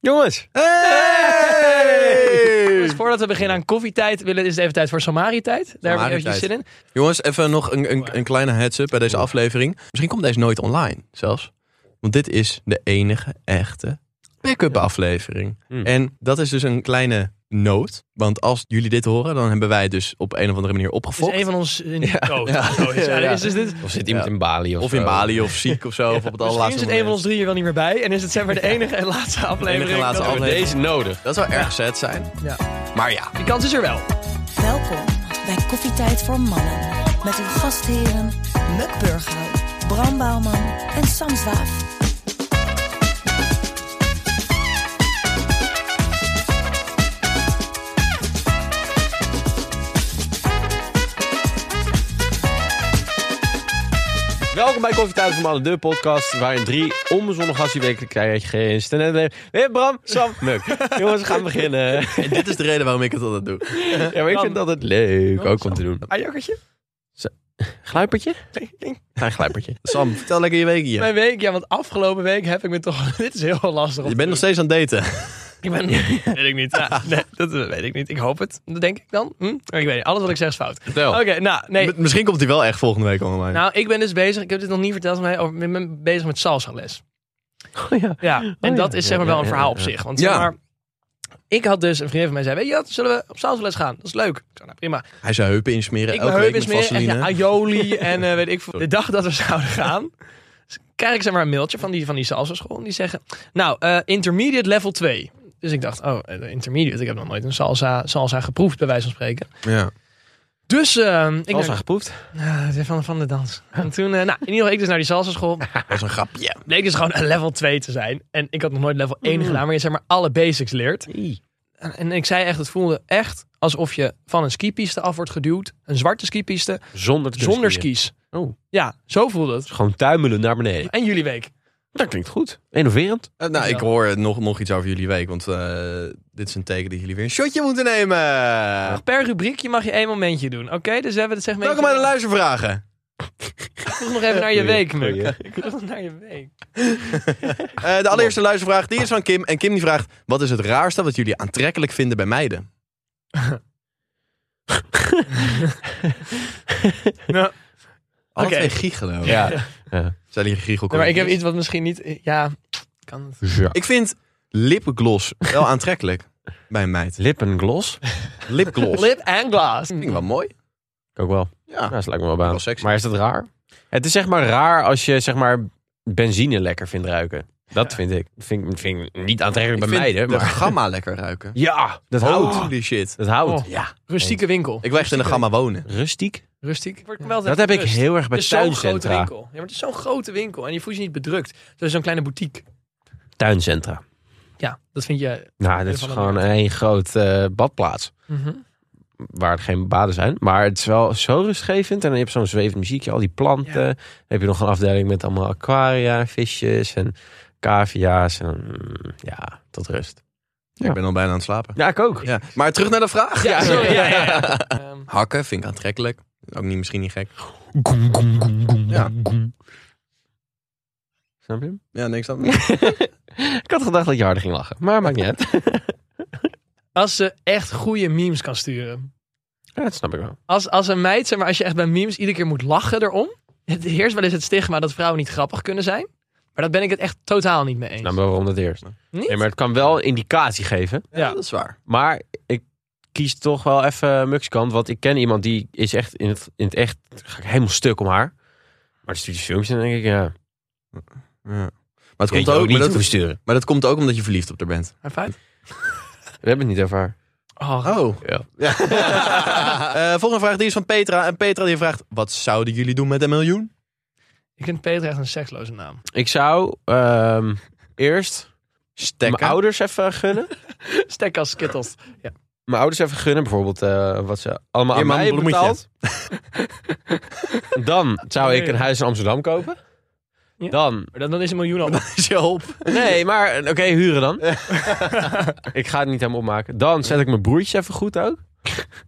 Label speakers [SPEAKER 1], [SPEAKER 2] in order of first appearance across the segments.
[SPEAKER 1] Jongens,
[SPEAKER 2] Dus voordat we beginnen aan koffietijd, willen, is het even tijd voor Samarietijd. Daar heb ik eventjes zin in.
[SPEAKER 1] Samarietijd. jongens, even nog een, een, een kleine heads-up bij deze aflevering. Misschien komt deze nooit online zelfs. Want dit is de enige echte pick-up aflevering.
[SPEAKER 3] Hmm.
[SPEAKER 1] En dat is dus een kleine noot. Want als jullie dit horen, dan hebben wij het dus op een of andere manier
[SPEAKER 2] Het
[SPEAKER 1] opgefokt.
[SPEAKER 2] is een van ons in de dood.
[SPEAKER 1] Ja.
[SPEAKER 2] Zo is-
[SPEAKER 1] Ja.
[SPEAKER 2] is- is dit-
[SPEAKER 3] Of Oh, zit iemand
[SPEAKER 1] Ja.
[SPEAKER 3] in Bali of
[SPEAKER 1] Of in
[SPEAKER 3] zo.
[SPEAKER 1] Bali of ziek of zo. of op het
[SPEAKER 2] Misschien
[SPEAKER 1] allerlaatste
[SPEAKER 2] zit een van ons
[SPEAKER 1] moment.
[SPEAKER 2] drie er wel niet meer bij. En is het zeg maar de enige en laatste aflevering.
[SPEAKER 1] enige en laatste
[SPEAKER 2] dat we-
[SPEAKER 3] Hebben we Deze nodig.
[SPEAKER 1] Dat zou erg zet zijn.
[SPEAKER 2] Ja.
[SPEAKER 1] Maar ja,
[SPEAKER 2] Die kans is er wel.
[SPEAKER 4] Welkom bij Koffietijd voor Mannen. Met uw gastheren Muk Burghout, Bram Bouwman en Sam Zwaaf.
[SPEAKER 3] Welkom bij Koffietijd van Mannen, de podcast waarin drie onbezonnen gasten wekelijk krijgen. En we hebben Eh, Bram, Sam, Muk. Jongens, we gaan beginnen.
[SPEAKER 1] en dit is de reden waarom ik het altijd doe.
[SPEAKER 3] Ja, maar ik vind dat het leuk ook om te doen.
[SPEAKER 2] Ah, jokkertje?
[SPEAKER 3] Gluipertje?
[SPEAKER 2] Ding, ding.
[SPEAKER 3] Klein gluipertje.
[SPEAKER 1] Sam, vertel lekker je week hier.
[SPEAKER 2] Mijn week, ja, want afgelopen week heb ik me toch... Dit is heel lastig. om
[SPEAKER 1] Je bent
[SPEAKER 2] te
[SPEAKER 1] nog
[SPEAKER 2] doen.
[SPEAKER 1] steeds aan het daten.
[SPEAKER 2] Ik ben... weet ik niet. Ja, nee, dat weet ik niet. Ik hoop het. Dat denk ik dan. Hm? Ik weet niet. Alles wat ik zeg is fout.
[SPEAKER 3] Vertel.
[SPEAKER 1] Oh.
[SPEAKER 2] Oké, nou, nee.
[SPEAKER 1] M- Misschien komt hij wel echt volgende week online.
[SPEAKER 2] Nou, ik ben dus bezig, ik heb dit nog niet verteld, maar over- ik ben bezig met salsa les.
[SPEAKER 3] Oh, ja.
[SPEAKER 2] Ja, en
[SPEAKER 3] ja.
[SPEAKER 2] dat is zeg maar
[SPEAKER 3] Ja,
[SPEAKER 2] wel
[SPEAKER 3] ja,
[SPEAKER 2] een verhaal
[SPEAKER 3] ja,
[SPEAKER 2] op
[SPEAKER 3] ja.
[SPEAKER 2] zich. Want
[SPEAKER 1] Ja.
[SPEAKER 2] zeg maar, ik had dus, een vriendin van mij zei, weet je wat, zullen we op salsa les gaan? Dat is leuk. Ik zei, nou prima.
[SPEAKER 1] Hij zou heupen insmeren
[SPEAKER 2] Ik
[SPEAKER 1] elke
[SPEAKER 2] mijn
[SPEAKER 1] week
[SPEAKER 2] heup
[SPEAKER 1] met
[SPEAKER 2] is meer echt
[SPEAKER 1] vaseline.
[SPEAKER 2] ja, aioli en eh, weet ik veel. De dag dat we zouden gaan, dus krijg ik zeg maar een mailtje van die, van die salsa school. En die zeggen, nou, eh, intermediate level 2. Dus ik dacht, oh, eh, intermediate, ik heb nog nooit een salsa, salsa geproefd, bij wijze van spreken.
[SPEAKER 1] Ja.
[SPEAKER 2] Dus eh, ik
[SPEAKER 3] Ik was
[SPEAKER 2] naar-
[SPEAKER 3] geproefd.
[SPEAKER 2] Ah, van, van de dans. En toen, eh, nou, in ieder geval, ik dus naar die salsa school.
[SPEAKER 1] Dat was een grapje.
[SPEAKER 2] Bleek dus gewoon een level 2 te zijn. En ik had nog nooit level
[SPEAKER 1] Mm.
[SPEAKER 2] 1 gedaan, maar je zeg maar alle basics leert. En, en ik zei echt, het voelde echt alsof je van een skipiste af wordt geduwd. Een zwarte skipiste,
[SPEAKER 3] Zonder te kunnen
[SPEAKER 2] zonder
[SPEAKER 3] skiën.
[SPEAKER 2] skis.
[SPEAKER 3] Oh.
[SPEAKER 2] Ja, zo voelde het.
[SPEAKER 3] Dus gewoon tuimelen naar beneden.
[SPEAKER 2] En jullie week.
[SPEAKER 3] Dat klinkt goed. Innoverend.
[SPEAKER 1] Eh, nou, ik
[SPEAKER 2] Ja.
[SPEAKER 1] hoor nog, nog iets over jullie week. Want eh, dit is een teken dat jullie weer een shotje moeten nemen.
[SPEAKER 2] Nog Per rubriekje mag je één momentje doen. Oké, dus we hebben het segmentje.
[SPEAKER 1] Welkom bij de luistervragen. Eh,
[SPEAKER 2] Vroeg nog even naar je week, Muk.
[SPEAKER 3] Goeie.
[SPEAKER 2] Ik vroeg nog naar je week.
[SPEAKER 1] Eh, de allereerste luistervraag die is van Kim. En Kim die vraagt, wat is het raarste wat jullie aantrekkelijk vinden bij meiden?
[SPEAKER 2] Nou,
[SPEAKER 1] Alle
[SPEAKER 2] Oké.
[SPEAKER 1] twee giechelen. hoor.
[SPEAKER 3] Ja.
[SPEAKER 1] Zijn hier giechelkoordjes?
[SPEAKER 2] maar ik heb iets wat misschien niet... Ja, kan het.
[SPEAKER 3] ja.
[SPEAKER 1] Ik vind lipgloss wel aantrekkelijk bij een meid.
[SPEAKER 3] Lippengloss.
[SPEAKER 1] Lipgloss.
[SPEAKER 2] Lip and glass.
[SPEAKER 1] Vind ik wel mooi.
[SPEAKER 3] Ik ook wel.
[SPEAKER 1] Ja.
[SPEAKER 2] Ah.
[SPEAKER 3] Ja, Nou, dat lijkt me wel baan.
[SPEAKER 1] Wel sexy.
[SPEAKER 3] Maar is dat raar? Het is zeg maar raar als je zeg maar benzine lekker vindt ruiken. Dat vind ik. Vind, ik- vind ik niet aantrekkelijk
[SPEAKER 1] vind
[SPEAKER 3] bij meiden.
[SPEAKER 1] de
[SPEAKER 3] Maar...
[SPEAKER 1] gamma lekker ruiken.
[SPEAKER 3] Ja, dat houdt.
[SPEAKER 1] Holy shit.
[SPEAKER 3] Dat houdt.
[SPEAKER 2] Oh.
[SPEAKER 1] Ja.
[SPEAKER 2] Rustieke winkel.
[SPEAKER 1] Ik wil echt in de gamma wonen.
[SPEAKER 3] Rustiek.
[SPEAKER 2] Rustiek. Ik word wel
[SPEAKER 3] Dat heb ik
[SPEAKER 2] gerust.
[SPEAKER 3] heel erg
[SPEAKER 2] Het
[SPEAKER 3] bij
[SPEAKER 2] is zo'n grote
[SPEAKER 3] tuincentra.
[SPEAKER 2] winkel. Ja, maar het is zo'n grote winkel. En je voelt je niet bedrukt. Het is zo'n kleine boutique.
[SPEAKER 3] Tuincentra.
[SPEAKER 2] Ja, dat vind je...
[SPEAKER 3] Nou, dat is
[SPEAKER 2] Van de
[SPEAKER 3] gewoon
[SPEAKER 2] wereld.
[SPEAKER 3] één groot eh, badplaats.
[SPEAKER 2] Mhm.
[SPEAKER 3] Waar er geen baden zijn. Maar het is wel zo rustgevend. En dan heb je zo'n zwevend muziekje. Al die planten.
[SPEAKER 2] Ja.
[SPEAKER 3] Dan heb je nog een afdeling met allemaal aquaria, visjes en cavia's. En, mm, ja, tot rust.
[SPEAKER 1] Ik ben al bijna aan het slapen.
[SPEAKER 3] Ja, ik ook.
[SPEAKER 1] Ja. Maar terug naar de vraag.
[SPEAKER 2] Ja, sorry. Ja, ja, ja. Ehm,
[SPEAKER 1] Hakken vind ik aantrekkelijk. Ook niet, misschien niet gek.
[SPEAKER 3] Goem, goem, goem, goem,
[SPEAKER 1] Ja.
[SPEAKER 3] goem. Snap je hem?
[SPEAKER 1] Ja, niks dan.
[SPEAKER 3] Ik had gedacht dat je harder ging lachen. Maar maakt niet uit.
[SPEAKER 2] als ze echt goede memes kan sturen.
[SPEAKER 3] Ja, dat snap ik wel.
[SPEAKER 2] Als, als een meid, zeg maar, als je echt bij memes iedere keer moet lachen erom. Het heerst wel eens het stigma dat vrouwen niet grappig kunnen zijn. Maar dat ben ik het echt totaal niet mee eens.
[SPEAKER 3] Nou, maar waarom dat eerst?
[SPEAKER 2] niet?
[SPEAKER 3] Nee, maar het kan wel indicatie geven.
[SPEAKER 1] Ja, dat is waar.
[SPEAKER 3] Maar ik kies toch wel even Mux kant. Want ik ken iemand die is echt in het, in het echt... ga ik helemaal stuk om haar. Maar die stuurt die filmpjes en dan denk ik... Ja,
[SPEAKER 1] Ja. Maar, het
[SPEAKER 3] kun
[SPEAKER 1] komt
[SPEAKER 3] je
[SPEAKER 1] ook, maar,
[SPEAKER 3] hoeven
[SPEAKER 1] dat,
[SPEAKER 3] sturen.
[SPEAKER 1] maar dat komt ook omdat je verliefd op haar bent.
[SPEAKER 2] Maar feit.
[SPEAKER 3] We hebben het niet over haar.
[SPEAKER 2] Oh,
[SPEAKER 1] Oh.
[SPEAKER 3] Ja.
[SPEAKER 1] Eh, volgende vraag die is van Petra. En Petra die vraagt, wat zouden jullie doen met een miljoen?
[SPEAKER 2] ik vind Peter echt een seksloze naam.
[SPEAKER 3] Ik zou ehm, eerst
[SPEAKER 1] Stekken.
[SPEAKER 3] mijn ouders even gunnen.
[SPEAKER 2] Stek als Skittles. Ja.
[SPEAKER 3] Mijn ouders even gunnen. Bijvoorbeeld eh, wat ze allemaal aan
[SPEAKER 1] Irma,
[SPEAKER 3] mij
[SPEAKER 1] een bloemetje.
[SPEAKER 3] betaald. Dan zou ik een huis in Amsterdam kopen.
[SPEAKER 2] Ja.
[SPEAKER 3] Dan...
[SPEAKER 2] Maar dan, dan is een miljoen al. op.
[SPEAKER 1] Is je op?
[SPEAKER 3] Nee, maar eh, oké, huren dan. ik ga het niet helemaal opmaken. Dan zet ik mijn broertjes even goed ook.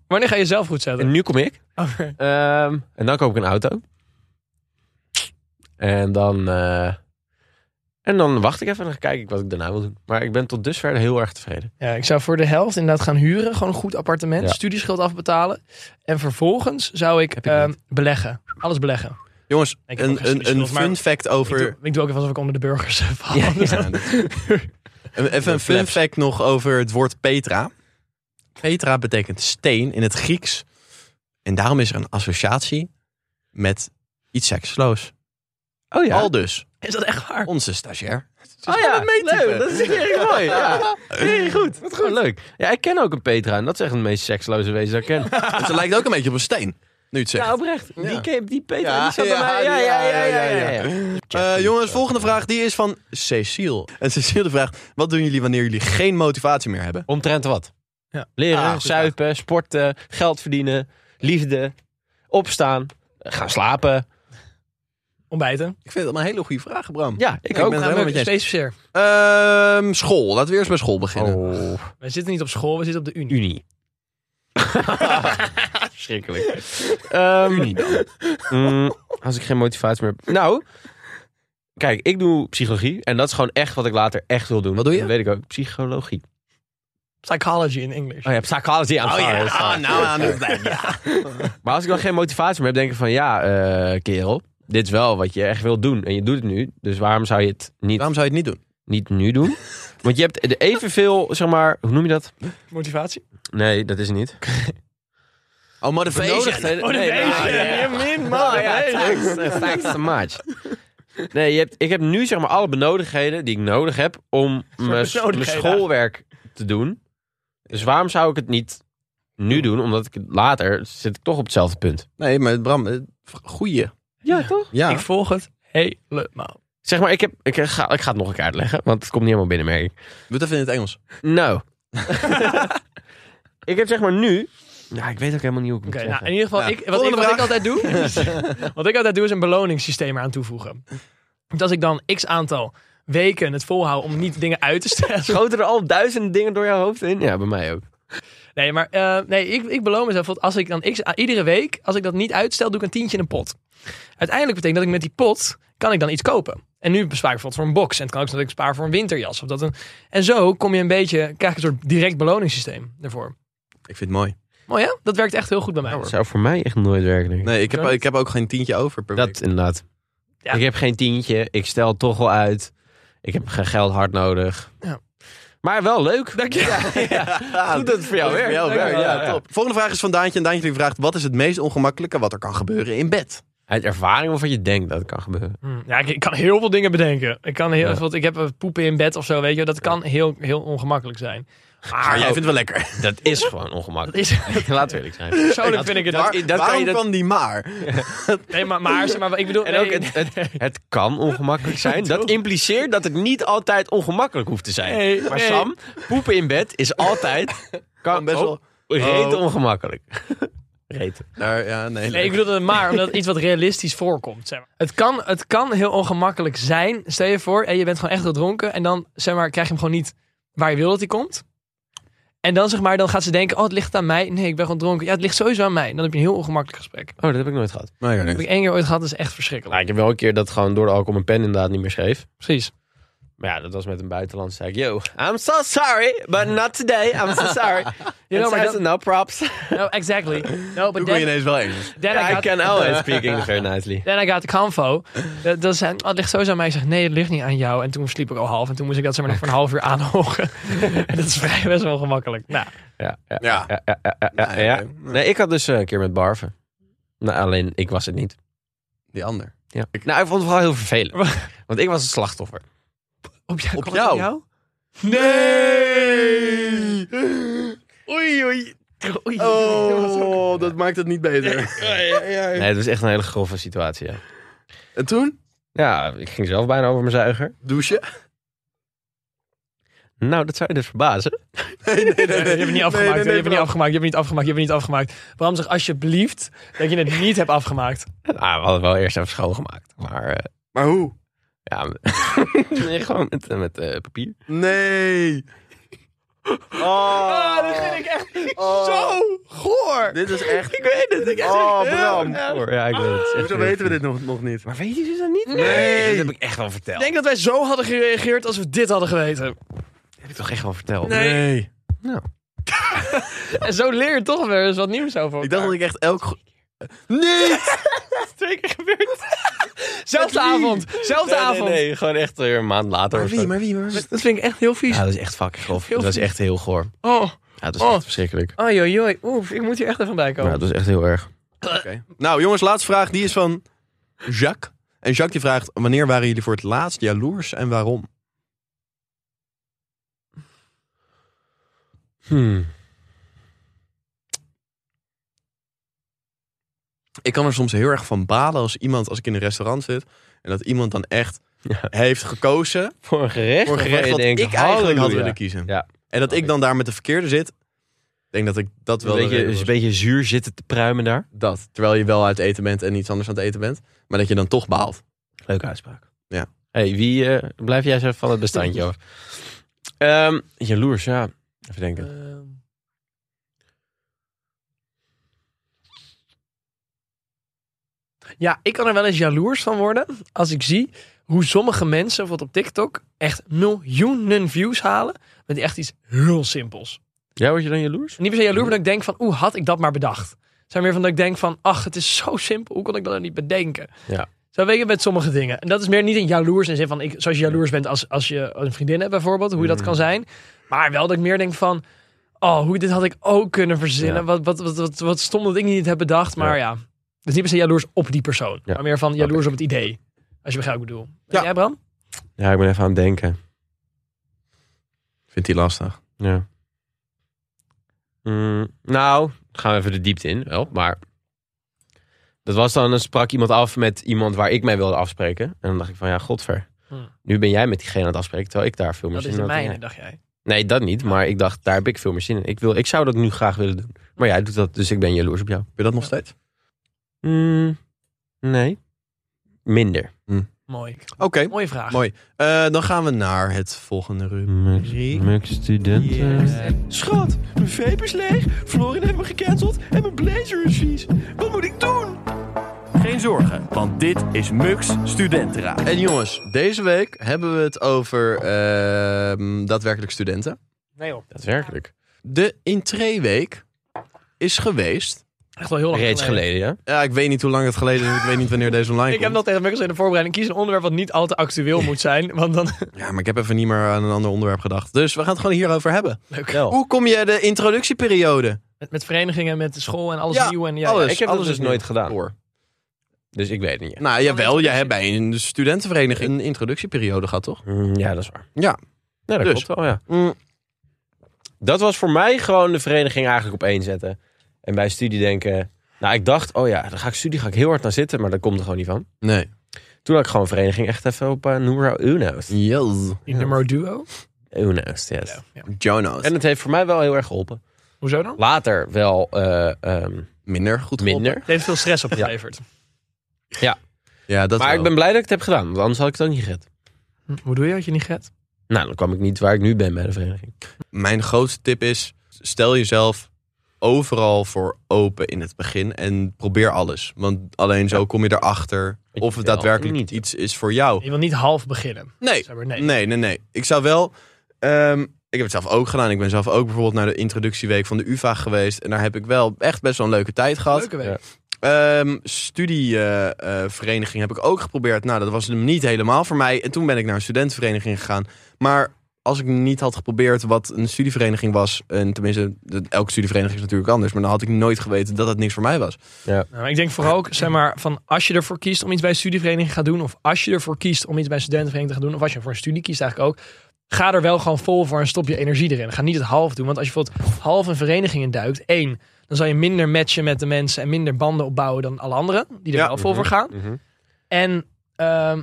[SPEAKER 2] Wanneer ga je zelf goed zetten? Oh,
[SPEAKER 3] En nu kom ik.
[SPEAKER 2] Oké.
[SPEAKER 3] Ehm, en dan koop ik een auto. En dan. eh, En dan wacht ik even en dan kijk ik wat ik daarna wil doen. Maar ik ben tot dusver heel erg tevreden.
[SPEAKER 2] Ja, ik zou voor de helft inderdaad gaan huren. Gewoon een goed appartement.
[SPEAKER 3] Ja.
[SPEAKER 2] Studieschuld afbetalen. En vervolgens zou ik,
[SPEAKER 3] ik
[SPEAKER 2] eh, beleggen. Alles beleggen.
[SPEAKER 1] Jongens,
[SPEAKER 2] Ik heb ook
[SPEAKER 1] een,
[SPEAKER 2] geen
[SPEAKER 1] een, een
[SPEAKER 2] studieschuld, maar-
[SPEAKER 1] fun fact
[SPEAKER 2] Ik, doe,
[SPEAKER 1] over...
[SPEAKER 2] ik doe ook even alsof ik onder de burgers eh, val.
[SPEAKER 1] Ja, dat- Even even een fun
[SPEAKER 3] plebs.
[SPEAKER 1] fact nog over het woord Petra. Petra betekent steen in het Grieks. En daarom is er een associatie met iets seksloos.
[SPEAKER 3] Oh
[SPEAKER 1] Al dus,
[SPEAKER 2] Is dat echt waar?
[SPEAKER 1] onze stagiair.
[SPEAKER 3] Oh ja, leuk. Dat is heel mooi. Ja. Heel goed. Wat goed. leuk. Ja, ik ken ook een Petra. En dat is echt het meest seksloze wezen dat ik ken.
[SPEAKER 1] En ze Dus lijkt ook een beetje op een steen. Nu het zegt.
[SPEAKER 3] Ja, oprecht. Die,
[SPEAKER 1] Ja.
[SPEAKER 3] ken- die Petra,
[SPEAKER 1] Ja,
[SPEAKER 3] die zat bij
[SPEAKER 1] ja,
[SPEAKER 3] mij. Ja, ja, ja, ja, ja. ja.
[SPEAKER 1] Eh, jongens, volgende vraag die is van Cecile. En Cecile vraagt: Wat doen jullie wanneer jullie geen motivatie meer hebben?
[SPEAKER 3] Omtrent wat?
[SPEAKER 2] Ja.
[SPEAKER 3] Leren,
[SPEAKER 1] Ah, goed
[SPEAKER 3] zuipen, sporten, geld verdienen, liefde, opstaan, gaan slapen.
[SPEAKER 2] Ontbijten.
[SPEAKER 1] Ik vind dat een hele goede vraag, Bram.
[SPEAKER 3] Ja, ik
[SPEAKER 1] Ik
[SPEAKER 3] ook.
[SPEAKER 1] ben-
[SPEAKER 2] Nou,
[SPEAKER 1] helemaal
[SPEAKER 2] we
[SPEAKER 1] met je
[SPEAKER 2] specificeer.
[SPEAKER 1] Ehm, school. Laten we eerst bij school beginnen.
[SPEAKER 3] Oh,
[SPEAKER 2] Wij zitten niet op school, we zitten op de Unie.
[SPEAKER 3] Unie. Schrikkelijk. Ehm, mm, als ik geen motivatie meer heb. Nou, kijk, ik doe psychologie. En dat is gewoon echt wat ik later echt wil doen.
[SPEAKER 1] Wat doe je?
[SPEAKER 3] Dat weet ik ook. Psychologie.
[SPEAKER 2] Psychology in English.
[SPEAKER 3] Oh Ah, nou, ja, psychology. I'm sorry, I'm sorry.
[SPEAKER 1] aan Nou, het
[SPEAKER 3] Maar als ik dan geen motivatie meer heb, denk ik van ja, eh, kerel, dit is wel wat je echt wil doen. En je doet het nu, dus waarom zou je het niet,
[SPEAKER 1] Waarom zou je het niet doen?
[SPEAKER 3] niet nu doen? Want je hebt er evenveel, zeg maar, hoe noem je dat?
[SPEAKER 2] Motivatie?
[SPEAKER 3] Nee, dat is het niet.
[SPEAKER 1] Oh, motivation.
[SPEAKER 3] Benodigd-
[SPEAKER 2] Oh,
[SPEAKER 3] nee,
[SPEAKER 2] deze.
[SPEAKER 3] nou, ja.
[SPEAKER 2] Je min,
[SPEAKER 3] Oh,
[SPEAKER 2] man.
[SPEAKER 3] ja,
[SPEAKER 2] Hey.
[SPEAKER 3] thanks, eh, thanks so much. Nee, je hebt, ik heb nu zeg maar alle benodigdheden die ik nodig heb om mijn s- mijn
[SPEAKER 2] benodigdheden.
[SPEAKER 3] schoolwerk te doen. Dus waarom zou ik het niet nu doen? Omdat ik het later zit ik toch op hetzelfde punt.
[SPEAKER 1] Nee, maar Bram, eh, goeie.
[SPEAKER 3] Ja, toch?
[SPEAKER 1] Ja.
[SPEAKER 2] Ik volg het helemaal.
[SPEAKER 3] Zeg maar, ik, heb, ik, ga, ik ga het nog een keer uitleggen, want het komt niet helemaal binnen, merk ik.
[SPEAKER 1] Doe het even in het Engels.
[SPEAKER 3] Nou. ik heb zeg maar nu... Nou, ik weet ook helemaal niet hoe ik het
[SPEAKER 2] Oké,
[SPEAKER 3] moet
[SPEAKER 2] nou,
[SPEAKER 3] zeggen.
[SPEAKER 2] in ieder geval,
[SPEAKER 1] Ja,
[SPEAKER 2] ik, wat, ik,
[SPEAKER 1] volgende
[SPEAKER 2] wat ik
[SPEAKER 1] vraag.
[SPEAKER 2] altijd doe, is- wat ik altijd doe is een beloningssysteem eraan toevoegen. Dus als ik dan x aantal weken het volhoud om niet dingen uit te stellen.
[SPEAKER 3] Schoten er al duizenden dingen door jouw hoofd in? Ja, bij mij ook.
[SPEAKER 2] Nee, maar eh, nee, ik, ik beloon mezelf, want als ik dan x, a- iedere week, als ik dat niet uitstel, doe ik een tientje in een pot. Uiteindelijk betekent dat ik met die pot, kan ik dan iets kopen. En nu bespaar ik bijvoorbeeld voor een box. En het kan ook zijn dat ik spaar voor een winterjas. Of dat een, en zo kom je een beetje, krijg je een soort direct beloningssysteem daarvoor.
[SPEAKER 1] Ik vind het mooi.
[SPEAKER 2] Mooi hè? Dat werkt echt heel goed bij mij.
[SPEAKER 3] Dat zou voor mij echt nooit werken, denk ik.
[SPEAKER 1] Nee, ik heb,
[SPEAKER 2] Zo niet.
[SPEAKER 1] ik heb ook geen tientje over per week.
[SPEAKER 3] Dat inderdaad.
[SPEAKER 2] Ja.
[SPEAKER 3] Ik heb geen tientje, ik stel het toch wel uit. Ik heb geen geld hard nodig.
[SPEAKER 2] Ja.
[SPEAKER 3] Maar wel leuk.
[SPEAKER 2] Dank je.
[SPEAKER 3] Goed dat het voor jou werkt.
[SPEAKER 1] Oh Ja,
[SPEAKER 3] Dankjewel,
[SPEAKER 1] ja, top. Volgende vraag is van Daantje. En Daantje die vraagt, wat is het meest ongemakkelijke wat er kan gebeuren in bed?
[SPEAKER 3] Uit ervaring of wat je denkt dat het kan gebeuren.
[SPEAKER 2] Hm, Ja, ik, ik kan heel veel dingen bedenken. Ik kan heel
[SPEAKER 3] Ja.
[SPEAKER 2] bijvoorbeeld, ik heb eh, poepen in bed of zo, weet je. Dat kan heel, heel ongemakkelijk zijn.
[SPEAKER 1] Maar
[SPEAKER 2] Maar
[SPEAKER 1] jij vindt het wel lekker.
[SPEAKER 3] Dat is gewoon
[SPEAKER 2] dat
[SPEAKER 3] ongemakkelijk.
[SPEAKER 2] is,
[SPEAKER 3] Laten we eerlijk zijn.
[SPEAKER 2] persoonlijk vind ik het.
[SPEAKER 1] Waar-
[SPEAKER 2] ook-
[SPEAKER 3] kan
[SPEAKER 1] waarom
[SPEAKER 3] je dat-
[SPEAKER 1] kwam die maar?
[SPEAKER 2] Nee, maar, maar, maar ik bedoel.
[SPEAKER 3] En ook
[SPEAKER 2] nee,
[SPEAKER 3] het, het, het kan ongemakkelijk zijn. Dat impliceert dat het niet altijd ongemakkelijk hoeft te zijn.
[SPEAKER 2] Nee,
[SPEAKER 3] maar
[SPEAKER 2] nee.
[SPEAKER 3] Sam, poepen in bed is altijd kan
[SPEAKER 1] best
[SPEAKER 3] best
[SPEAKER 1] wel-
[SPEAKER 3] wel reet
[SPEAKER 1] Oh.
[SPEAKER 3] ongemakkelijk. reet.
[SPEAKER 1] Daar, Nou, ja, nee.
[SPEAKER 2] Nee, ik bedoel het maar omdat het iets wat realistisch voorkomt. Zeg maar. het, kan, het kan heel ongemakkelijk zijn. Stel je voor, en je bent gewoon echt heel dronken. En dan zeg maar, krijg je hem gewoon niet waar je wil dat hij komt. En dan zeg maar, dan gaat ze denken: oh, het ligt aan mij. Nee, ik ben gewoon dronken. Ja, het ligt sowieso aan mij. En dan heb je een heel ongemakkelijk gesprek.
[SPEAKER 3] Oh, dat heb ik nooit gehad.
[SPEAKER 1] Nee, ja, nee.
[SPEAKER 2] Dat heb ik één keer ooit gehad, dat is echt
[SPEAKER 3] Nou,
[SPEAKER 2] verschrikkelijk.
[SPEAKER 3] ik heb wel een keer dat gewoon door de alcohol mijn pen inderdaad niet meer schreef.
[SPEAKER 2] Precies.
[SPEAKER 3] Maar ja, dat was met een buitenlandse. Zei ik, yo, I'm so sorry, but not today. I'm so sorry.
[SPEAKER 2] Ja,
[SPEAKER 3] You
[SPEAKER 2] maar
[SPEAKER 3] know,
[SPEAKER 2] dat-
[SPEAKER 3] no props.
[SPEAKER 2] No, exactly. No, but
[SPEAKER 1] Toen kon je
[SPEAKER 2] then,
[SPEAKER 1] ineens wel Engels.
[SPEAKER 2] then I
[SPEAKER 3] I
[SPEAKER 2] got-
[SPEAKER 3] can always speak English very nicely.
[SPEAKER 2] Then I got the convo. Dat, dat zijn, oh, het ligt sowieso aan mij. Ik zeg, nee, het ligt niet aan jou. En toen sliep ik al half. En toen moest ik dat zeg maar nog voor een half uur aanhoren. en dat is vrij best wel gemakkelijk. Nou,
[SPEAKER 3] Ja, ja,
[SPEAKER 1] Ja.
[SPEAKER 3] ja, ja, ja, ja, ja,
[SPEAKER 1] Nee,
[SPEAKER 3] ja.
[SPEAKER 1] oké.
[SPEAKER 3] Nee, ik had dus eh, een keer met barven. Nou, alleen ik was het niet.
[SPEAKER 1] Die ander.
[SPEAKER 3] Ja. Nou, ik vond het vooral heel vervelend. Want ik was het slachtoffer.
[SPEAKER 2] op jou.
[SPEAKER 1] Op
[SPEAKER 2] kwam het
[SPEAKER 1] jou? Nee!
[SPEAKER 2] Oei, oei. Oei.
[SPEAKER 1] Oh, dat maakt het niet beter.
[SPEAKER 3] Nee, het was echt een hele grove situatie. Ja,
[SPEAKER 1] En toen?
[SPEAKER 3] ja ik ging zelf bijna over mijn zuiger.
[SPEAKER 1] Douchen?
[SPEAKER 3] Nou, dat zou je dus verbazen.
[SPEAKER 1] Nee, nee, nee.
[SPEAKER 2] Nee, je hebt het niet afgemaakt.
[SPEAKER 1] Nee, nee,
[SPEAKER 2] je hebt het niet
[SPEAKER 1] Bram.
[SPEAKER 2] afgemaakt. Je hebt het niet afgemaakt. Je hebt het niet afgemaakt. Bram zegt alsjeblieft dat je het niet hebt afgemaakt.
[SPEAKER 3] Nou, we hadden wel eerst even schoongemaakt. Maar eh,
[SPEAKER 1] Maar hoe?
[SPEAKER 3] ja, nee, gewoon met, eh, met eh, papier.
[SPEAKER 1] Nee. Oh, Oh.
[SPEAKER 2] Ah, dat vind ik echt Ah, zo goor. voor.
[SPEAKER 3] Dit is echt...
[SPEAKER 2] Ik weet het. Ik
[SPEAKER 3] Oh,
[SPEAKER 2] echt heel
[SPEAKER 3] Bram.
[SPEAKER 2] erg.
[SPEAKER 3] Ja, ik weet het.
[SPEAKER 1] Hoezo weten we dit nog, nog niet?
[SPEAKER 3] Maar weet je ze dat niet?
[SPEAKER 2] Nee.
[SPEAKER 3] Dat heb ik echt wel
[SPEAKER 2] Ik
[SPEAKER 3] verteld.
[SPEAKER 2] denk dat wij zo hadden gereageerd als we dit hadden geweten.
[SPEAKER 3] Dat heb ik toch echt wel verteld?
[SPEAKER 2] Nee.
[SPEAKER 3] Nou.
[SPEAKER 2] En zo leer je toch weer eens wat nieuws over
[SPEAKER 1] Ik dacht dat
[SPEAKER 2] elkaar.
[SPEAKER 1] ik echt elk... go- Nee!
[SPEAKER 2] dat het twee keer gebeurd. Zelfde avond. Zelfde
[SPEAKER 3] Nee, nee,
[SPEAKER 2] avond.
[SPEAKER 3] nee, gewoon echt weer een maand later. of zo.
[SPEAKER 1] wie, maar
[SPEAKER 2] Dat vind ik echt heel vies.
[SPEAKER 3] Ja, dat is echt fucking grof.
[SPEAKER 2] Heel
[SPEAKER 3] Dat is
[SPEAKER 2] vies.
[SPEAKER 3] echt heel goor.
[SPEAKER 2] Oh,
[SPEAKER 3] Ja, dat is
[SPEAKER 2] Oh.
[SPEAKER 3] echt verschrikkelijk.
[SPEAKER 2] oh joh, joh. Oef, ik moet hier echt even bij
[SPEAKER 3] Ja,
[SPEAKER 2] komen.
[SPEAKER 3] dat is echt heel erg.
[SPEAKER 1] Nou, jongens, laatste vraag. Die is van Jacques. En Jacques die vraagt, wanneer waren jullie voor het laatst jaloers en waarom?
[SPEAKER 3] Hmm.
[SPEAKER 1] Ik kan er soms heel erg van balen als iemand, als ik in een restaurant zit... en dat iemand dan echt
[SPEAKER 3] Ja.
[SPEAKER 1] heeft gekozen
[SPEAKER 3] Voor een gerecht?
[SPEAKER 1] voor een
[SPEAKER 3] waarvan
[SPEAKER 1] gerecht
[SPEAKER 3] je
[SPEAKER 1] wat
[SPEAKER 3] denkt,
[SPEAKER 1] ik eigenlijk had
[SPEAKER 3] halleluja.
[SPEAKER 1] willen kiezen.
[SPEAKER 3] Ja.
[SPEAKER 1] En dat ik dan daar met de verkeerde zit. Ik denk dat ik dat wel...
[SPEAKER 3] Een
[SPEAKER 1] de
[SPEAKER 3] beetje,
[SPEAKER 1] reden
[SPEAKER 3] dus een
[SPEAKER 1] was.
[SPEAKER 3] beetje zuur zitten te pruimen daar.
[SPEAKER 1] Dat, terwijl je wel uit eten bent en iets anders aan het eten bent. Maar dat je dan toch baalt.
[SPEAKER 3] Leuke uitspraak.
[SPEAKER 1] Ja.
[SPEAKER 3] hey, wie eh, blijf jij zo van het bestandje af? Ehm, jaloers, ja. Even denken.
[SPEAKER 2] Ehm. Ehm, Ja, ik kan er wel eens jaloers van worden als ik zie hoe sommige mensen, wat op TikTok, echt miljoenen views halen met echt iets heel simpels.
[SPEAKER 3] Jij wordt je dan jaloers?
[SPEAKER 2] En niet per se jaloers, maar dat ik denk van, oeh, had ik dat maar bedacht. Het zijn meer van dat ik denk van, ach, het is zo simpel, hoe kon ik dat nou niet bedenken?
[SPEAKER 3] Ja.
[SPEAKER 2] Zo weet je met sommige dingen. En dat is meer niet een jaloers in de zin van, ik, zoals je jaloers bent als, als je een vriendin hebt bijvoorbeeld, hoe je dat kan zijn. Maar wel dat ik meer denk van, oh, hoe, dit had ik ook kunnen verzinnen.
[SPEAKER 3] Ja.
[SPEAKER 2] Wat, wat, wat, wat, wat stom dat ik niet heb bedacht. Maar ja, het is niet per se jaloers op die persoon.
[SPEAKER 3] Ja.
[SPEAKER 2] Maar meer van jaloers op het idee. Als je begrijpt wat ik bedoel.
[SPEAKER 1] Ja.
[SPEAKER 2] Ja. Jij Bram?
[SPEAKER 3] Ja, ik ben even aan het denken.
[SPEAKER 1] Vindt hij lastig.
[SPEAKER 3] Ja. Mm, nou, gaan we even de diepte in, wel. Maar dat was dan, dan sprak iemand af met iemand waar ik mee wilde afspreken. En dan dacht ik van, ja, godver.
[SPEAKER 2] Hm.
[SPEAKER 3] Nu ben jij met diegene aan het afspreken, terwijl ik daar veel meer
[SPEAKER 2] Dat is
[SPEAKER 3] zin in
[SPEAKER 2] de
[SPEAKER 3] had dan jij.
[SPEAKER 2] mijne, dacht jij.
[SPEAKER 3] Nee, dat niet. Maar ik dacht, daar heb ik veel meer zin in. Ik, wil, ik zou dat nu graag willen doen. Maar jij doet dat, dus ik ben jaloers op jou.
[SPEAKER 1] Heb je dat nog steeds?
[SPEAKER 3] Mm, nee. Minder.
[SPEAKER 2] Mooi.
[SPEAKER 1] Oké,
[SPEAKER 2] Mooie vraag.
[SPEAKER 1] mooi. Eh, dan gaan we naar het volgende rubriek.
[SPEAKER 3] studenten.
[SPEAKER 5] Schat, mijn vape is leeg, Florin heeft me gecanceld en mijn blazer is vies. Wat moet ik doen? Geen zorgen, want dit is Mux Studentenraad.
[SPEAKER 1] En jongens, deze week hebben we het over ehm, daadwerkelijk studenten.
[SPEAKER 2] Nee joh,
[SPEAKER 3] Daadwerkelijk.
[SPEAKER 1] De intreeweek is geweest.
[SPEAKER 2] echt wel heel lang
[SPEAKER 3] Reeds geleden, ja.
[SPEAKER 1] Ja, ik weet niet hoe lang het geleden is. Ik weet niet wanneer deze online
[SPEAKER 2] Ik heb
[SPEAKER 1] komt.
[SPEAKER 2] nog tegen Mikkels in de voorbereiding. Kies een onderwerp wat niet al te actueel moet zijn. Want dan...
[SPEAKER 1] Ja, maar ik heb even niet meer aan een ander onderwerp gedacht. Dus we gaan het gewoon hierover hebben.
[SPEAKER 2] Leuk.
[SPEAKER 3] Oh.
[SPEAKER 1] Hoe kom je de introductieperiode
[SPEAKER 2] Met, met verenigingen, met de school en alles
[SPEAKER 1] Ja,
[SPEAKER 2] nieuw. En, ja,
[SPEAKER 1] alles.
[SPEAKER 2] ja.
[SPEAKER 3] Ik heb
[SPEAKER 1] alles
[SPEAKER 3] dat dus
[SPEAKER 1] is
[SPEAKER 3] nooit
[SPEAKER 1] nieuw.
[SPEAKER 3] gedaan.
[SPEAKER 1] door?
[SPEAKER 3] Dus ik weet het niet.
[SPEAKER 1] Nou, jawel. Jij hebt bij een studentenvereniging een introductieperiode gehad, toch?
[SPEAKER 3] Mm, ja, dat is waar.
[SPEAKER 1] Ja.
[SPEAKER 3] Nee, dat
[SPEAKER 1] Dus.
[SPEAKER 3] klopt wel, ja. Dat was voor mij gewoon de vereniging eigenlijk op één zetten. En bij studie denken... Nou, ik dacht, oh ja, dan ga ik studie ga ik heel hard naar zitten. Maar dat komt er gewoon niet van.
[SPEAKER 1] Nee.
[SPEAKER 3] Toen had ik gewoon vereniging echt even op eh, numero uno's.
[SPEAKER 1] Yes.
[SPEAKER 2] Die nummer duo.
[SPEAKER 3] Uno's, yes.
[SPEAKER 2] Ja.
[SPEAKER 1] Jonas.
[SPEAKER 3] En het heeft voor mij wel heel erg geholpen.
[SPEAKER 2] Hoezo dan?
[SPEAKER 3] Later wel eh, ehm,
[SPEAKER 1] minder goed geholpen.
[SPEAKER 3] minder.
[SPEAKER 2] Het heeft veel stress opgeleverd.
[SPEAKER 1] Ja, dat
[SPEAKER 3] Maar
[SPEAKER 1] wel.
[SPEAKER 3] ik ben blij dat ik het heb gedaan, want anders had ik het ook niet gered.
[SPEAKER 2] Hm, Hoe doe je dat je niet gered?
[SPEAKER 3] Nou, dan kwam ik niet waar ik nu ben bij de vereniging.
[SPEAKER 1] Mijn grootste tip is, stel jezelf overal voor open in het begin en probeer alles. Want alleen zo kom je erachter
[SPEAKER 3] Ik
[SPEAKER 1] of het
[SPEAKER 3] wel.
[SPEAKER 1] daadwerkelijk
[SPEAKER 3] Niet.
[SPEAKER 1] iets is voor jou.
[SPEAKER 2] Je wil niet half beginnen.
[SPEAKER 1] Nee,
[SPEAKER 2] Zeg maar, nee.
[SPEAKER 1] nee, nee, nee. Ik zou wel... ehm, ik heb het zelf ook gedaan. Ik ben zelf ook bijvoorbeeld naar de introductieweek van de UvA geweest. En daar heb ik wel echt best wel een leuke tijd gehad. Ehm,
[SPEAKER 2] Leuke week.
[SPEAKER 3] Ja.
[SPEAKER 1] Studievereniging heb ik ook geprobeerd. Nou, dat was hem niet helemaal voor mij. En toen ben ik naar een studentenvereniging gegaan. Maar als ik niet had geprobeerd wat een studievereniging was... en tenminste, dat- elke studievereniging is natuurlijk anders... maar dan had ik nooit geweten dat dat niks voor mij was.
[SPEAKER 2] Nou, maar ik denk vooral ook, zeg maar, van als je ervoor kiest om iets bij een studievereniging te gaan doen. Of als je ervoor kiest om iets bij een studentenvereniging te gaan doen. Of als je voor een studie kiest eigenlijk ook. Ga er wel gewoon vol voor en stop je energie erin. Ga niet het half doen. Want als je bijvoorbeeld half een vereniging in duikt, één, dan zal je minder matchen met de mensen en minder banden opbouwen dan alle anderen die er
[SPEAKER 1] Ja.
[SPEAKER 2] wel vol voor gaan.
[SPEAKER 1] Mhm.
[SPEAKER 2] En ehm,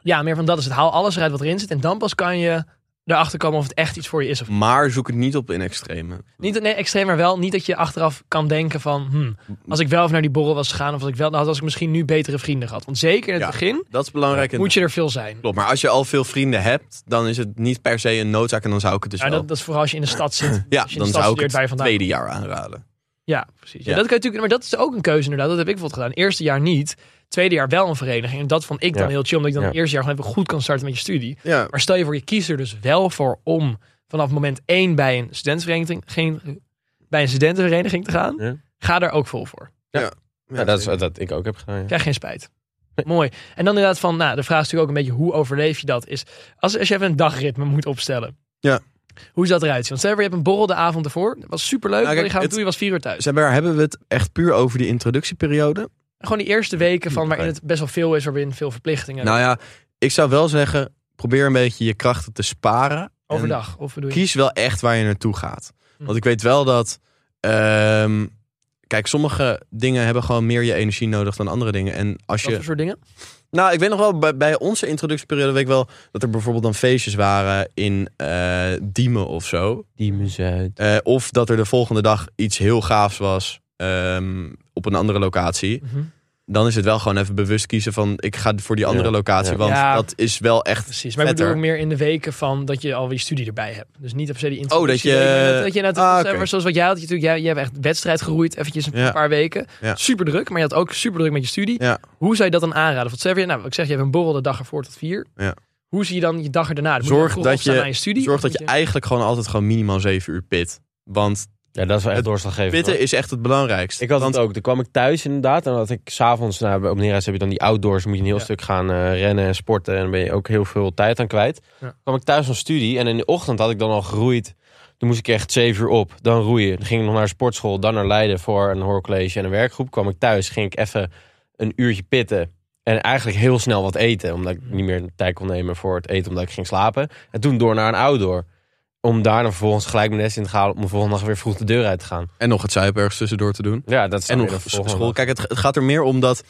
[SPEAKER 2] ja, meer van dat is het. Haal alles eruit wat erin zit. En dan pas kan je erachter komen of het echt iets voor je is of niet.
[SPEAKER 1] Maar zoek het niet op in extreme.
[SPEAKER 2] niet. Nee, extreem, maar wel niet dat je achteraf kan denken van... hmm,
[SPEAKER 1] M-m-m.
[SPEAKER 2] als ik wel even naar die borrel was gegaan of als ik wel... Nou, als ik misschien nu betere vrienden gehad. Want zeker in het
[SPEAKER 1] Ja.
[SPEAKER 2] begin
[SPEAKER 1] Dat is belangrijk. En
[SPEAKER 2] moet je er veel zijn.
[SPEAKER 1] Klopt, maar als je al veel vrienden hebt... dan is het niet per se een noodzaak en dan zou ik het dus
[SPEAKER 2] Ja,
[SPEAKER 1] wel...
[SPEAKER 2] dat, dat is vooral als je in de stad zit.
[SPEAKER 1] ja,
[SPEAKER 2] als je in de
[SPEAKER 1] dan
[SPEAKER 2] stad
[SPEAKER 1] zou ik
[SPEAKER 2] studeert waar
[SPEAKER 1] het
[SPEAKER 2] je vandaan
[SPEAKER 1] tweede jaar aanraden.
[SPEAKER 2] Ja, precies. Ja,
[SPEAKER 1] Ja.
[SPEAKER 2] Dat kan je natuurlijk, maar dat is ook een keuze inderdaad. Dat heb ik bijvoorbeeld gedaan. Eerste jaar niet. Tweede jaar wel een vereniging. En dat vond ik dan
[SPEAKER 3] Ja.
[SPEAKER 2] heel chill. Omdat ik dan
[SPEAKER 3] Ja.
[SPEAKER 2] het eerste jaar gewoon even goed kan starten met je studie.
[SPEAKER 1] Ja,
[SPEAKER 2] Maar stel je voor, je kiest er dus wel voor om vanaf moment één bij een studentenvereniging, geen, bij een studentenvereniging te gaan.
[SPEAKER 3] Ja.
[SPEAKER 2] Ga daar ook vol voor.
[SPEAKER 1] Ja,
[SPEAKER 3] Ja, dat is
[SPEAKER 1] zeker.
[SPEAKER 3] wat dat ik ook heb gedaan. Ja.
[SPEAKER 2] Krijg geen spijt. Mooi. En dan inderdaad van, nou, de vraag is natuurlijk ook een beetje hoe overleef je dat? Is als, als je even een dagritme moet opstellen.
[SPEAKER 1] Ja.
[SPEAKER 2] Hoe zou dat eruit zien? Want stel je voor, je hebt een borrel de avond ervoor. Dat was superleuk.
[SPEAKER 1] Nou,
[SPEAKER 2] leuk. je
[SPEAKER 1] kijk,
[SPEAKER 2] gaat
[SPEAKER 1] het-
[SPEAKER 2] doen, je was vier uur thuis.
[SPEAKER 1] Zeg maar, hebben we het echt puur over die introductieperiode?
[SPEAKER 2] Gewoon die eerste weken van waarin
[SPEAKER 1] Oké.
[SPEAKER 2] het best wel veel is, waarin veel verplichtingen.
[SPEAKER 1] Hmm, Nou ja, ik zou wel zeggen, probeer een beetje je krachten te sparen. En
[SPEAKER 2] overdag. Of bedoel je?
[SPEAKER 1] kies wel echt waar je naartoe gaat.
[SPEAKER 2] Hm.
[SPEAKER 1] Want ik weet wel dat. ehm, kijk, sommige dingen hebben gewoon meer je energie nodig dan andere dingen. En als
[SPEAKER 2] dat
[SPEAKER 1] je.
[SPEAKER 2] soort dingen.
[SPEAKER 1] Nou, ik weet nog wel, bij, bij onze introductieperiode weet ik wel dat er bijvoorbeeld dan feestjes waren in eh, Diemen of zo.
[SPEAKER 3] Die muziek.
[SPEAKER 1] Eh, of dat er de volgende dag iets heel gaafs was ehm, op een andere locatie.
[SPEAKER 2] Mhm.
[SPEAKER 1] Dan is het wel gewoon even bewust kiezen van ik ga voor die andere
[SPEAKER 3] Ja,
[SPEAKER 1] locatie.
[SPEAKER 3] ja.
[SPEAKER 1] Want
[SPEAKER 2] Ja.
[SPEAKER 1] dat is wel echt
[SPEAKER 2] Precies. Maar ik bedoel
[SPEAKER 1] Vetter.
[SPEAKER 2] ook meer in de weken van dat je alweer je studie erbij hebt. Dus niet per se die
[SPEAKER 1] Oh, dat
[SPEAKER 2] introductie.
[SPEAKER 1] je-
[SPEAKER 2] maar Dat, dat je net,
[SPEAKER 1] Ah,
[SPEAKER 2] zeg maar,
[SPEAKER 1] oké.
[SPEAKER 2] Zoals wat jij had. Je, natuurlijk, jij, jij hebt echt wedstrijd geroeid. Eventjes een
[SPEAKER 1] Ja.
[SPEAKER 2] paar weken.
[SPEAKER 1] Ja.
[SPEAKER 2] Super druk. Maar je had ook super druk met je studie.
[SPEAKER 1] Ja.
[SPEAKER 2] Hoe zou je dat dan aanraden? Want stel je, nou, wat ik zeg, je hebt een borrel de dag ervoor tot vier.
[SPEAKER 1] Ja.
[SPEAKER 2] Hoe zie je dan je dag erna? Dan moet
[SPEAKER 1] Zorg
[SPEAKER 2] dan vroeg
[SPEAKER 1] dat
[SPEAKER 2] opstaan
[SPEAKER 1] je-
[SPEAKER 2] na je studie.
[SPEAKER 1] Zorg
[SPEAKER 2] Dan
[SPEAKER 1] dat je
[SPEAKER 2] moet
[SPEAKER 1] eigenlijk gewoon altijd gewoon minimaal 7 uur pit. Want
[SPEAKER 3] Ja, dat is wel echt
[SPEAKER 1] Het
[SPEAKER 3] doorslaggevend. hoor.
[SPEAKER 1] pitten is echt het belangrijkste.
[SPEAKER 3] Ik had
[SPEAKER 1] Want
[SPEAKER 3] het ook. Toen kwam ik thuis inderdaad. En dan had ik s'avonds, nou, bij- op Neerhuis heb je dan die outdoors. Moet je een heel
[SPEAKER 2] Ja.
[SPEAKER 3] stuk gaan eh, rennen en sporten. En dan ben je ook heel veel tijd aan kwijt.
[SPEAKER 2] Ja.
[SPEAKER 3] kwam ik thuis van studie. En in de ochtend had ik dan al geroeid. Toen moest ik echt zeven uur op. Dan roeien. Dan ging ik nog naar de sportschool. Dan naar Leiden voor een hoorcollege en een werkgroep. kwam ik thuis. Ging ik even een uurtje pitten. En eigenlijk heel snel wat eten. Omdat ik niet meer tijd kon nemen voor het eten. Omdat ik ging slapen. En toen door naar een outdoor. Om daar dan vervolgens gelijk mijn les in te halen. Om de volgende dag weer vroeg de deur uit te gaan.
[SPEAKER 1] En nog het zuipen ergens tussendoor te doen.
[SPEAKER 3] Ja, dat is
[SPEAKER 1] En
[SPEAKER 3] dan
[SPEAKER 1] nog
[SPEAKER 3] weer de volgende
[SPEAKER 1] school.
[SPEAKER 3] dag.
[SPEAKER 1] Kijk, het, het gaat er meer om dat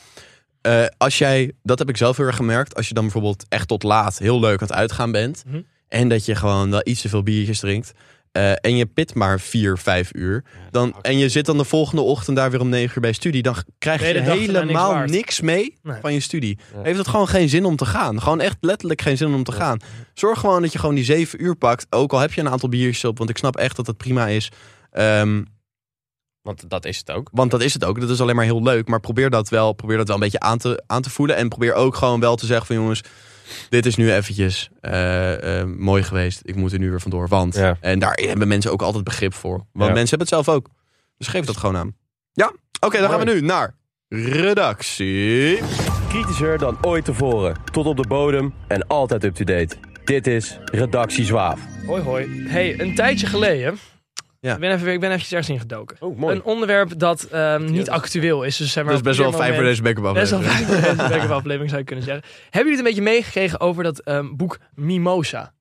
[SPEAKER 1] eh, als jij, dat heb ik zelf heel erg gemerkt, als je dan bijvoorbeeld echt tot laat heel leuk aan het uitgaan bent
[SPEAKER 2] Mhm.
[SPEAKER 1] en dat je gewoon wel iets te veel biertjes drinkt eh, en je pit maar vier, vijf uur dan, en je zit dan de volgende ochtend daar weer om negen uur bij studie, dan g- krijg
[SPEAKER 2] Ben je
[SPEAKER 1] je
[SPEAKER 2] de dag erna niks
[SPEAKER 1] helemaal
[SPEAKER 2] waard?
[SPEAKER 1] niks, mee
[SPEAKER 2] Nee.
[SPEAKER 1] van je studie.
[SPEAKER 3] Ja.
[SPEAKER 1] Heeft het gewoon geen zin om te gaan. Gewoon echt letterlijk geen zin om te gaan. Zorg gewoon dat je gewoon die zeven uur pakt, ook al heb je een aantal biertjes op, want ik snap echt dat dat prima is. Ehm,
[SPEAKER 3] Want dat is het ook.
[SPEAKER 1] Want dat is het ook. Dat is alleen maar heel leuk. Maar probeer dat wel, probeer dat wel een beetje aan te, aan te voelen. En probeer ook gewoon wel te zeggen van jongens, dit is nu eventjes eh, eh, mooi geweest. Ik moet er nu weer vandoor. Want.
[SPEAKER 3] Ja.
[SPEAKER 1] En daar hebben mensen ook altijd begrip voor. Want
[SPEAKER 3] Ja.
[SPEAKER 1] mensen hebben het zelf ook. Dus geef dat gewoon aan. Ja, oké, dan gaan we nu naar redactie.
[SPEAKER 5] Kritischer dan ooit tevoren. Tot op de bodem en altijd up-to-date. Dit is Redactie Zwaaf.
[SPEAKER 2] je- Hoi hoi. Hey, een tijdje geleden.
[SPEAKER 1] Ja.
[SPEAKER 2] Ik ben even, ik ben eventjes ergens ingedoken.
[SPEAKER 3] Oh, mooi.
[SPEAKER 2] Een onderwerp dat ehm, niet actueel is. Dus, zeg maar,
[SPEAKER 1] Dat is best wel
[SPEAKER 2] op ieder
[SPEAKER 1] fijn voor
[SPEAKER 2] moment-
[SPEAKER 1] deze backup
[SPEAKER 2] Best wel
[SPEAKER 1] aflevering.
[SPEAKER 2] fijn voor deze backup aflevering zou je kunnen zeggen. Hebben jullie het een beetje meegekregen over dat ehm, boek Mimosa?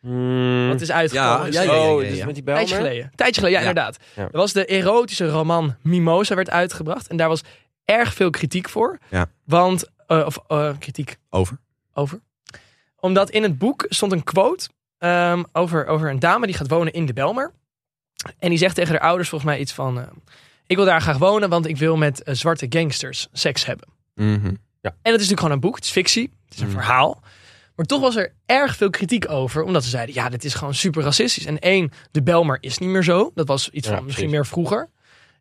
[SPEAKER 3] Hmm.
[SPEAKER 2] Dat is uitgekomen.
[SPEAKER 1] Hm. Ja,
[SPEAKER 2] Dus
[SPEAKER 1] ja, ja,
[SPEAKER 2] een
[SPEAKER 1] ja.
[SPEAKER 3] Oh, dus met die bel.
[SPEAKER 2] Tijdje geleden. Tijdje geleden, ja,
[SPEAKER 1] Ja.
[SPEAKER 2] inderdaad.
[SPEAKER 3] Ja.
[SPEAKER 2] Er was de erotische roman Mimosa werd uitgebracht. En daar was erg veel kritiek voor.
[SPEAKER 1] Ja.
[SPEAKER 2] Want, eh, of eh, kritiek
[SPEAKER 1] Over.
[SPEAKER 2] over. Omdat in het boek stond een quote ehm, over, over een dame die gaat wonen in de Belmer. En die zegt tegen haar ouders volgens mij iets van... eh, ik wil daar graag wonen, want ik wil met eh, zwarte gangsters seks hebben.
[SPEAKER 1] Mhm.
[SPEAKER 2] En het is natuurlijk gewoon een boek. Het is fictie. Het is een verhaal. Maar toch was er erg veel kritiek over. Omdat ze zeiden, ja, dit is gewoon super racistisch. En één, de Belmer is niet meer zo. Dat was iets
[SPEAKER 3] Ja,
[SPEAKER 2] van misschien meer
[SPEAKER 3] precies.
[SPEAKER 2] vroeger.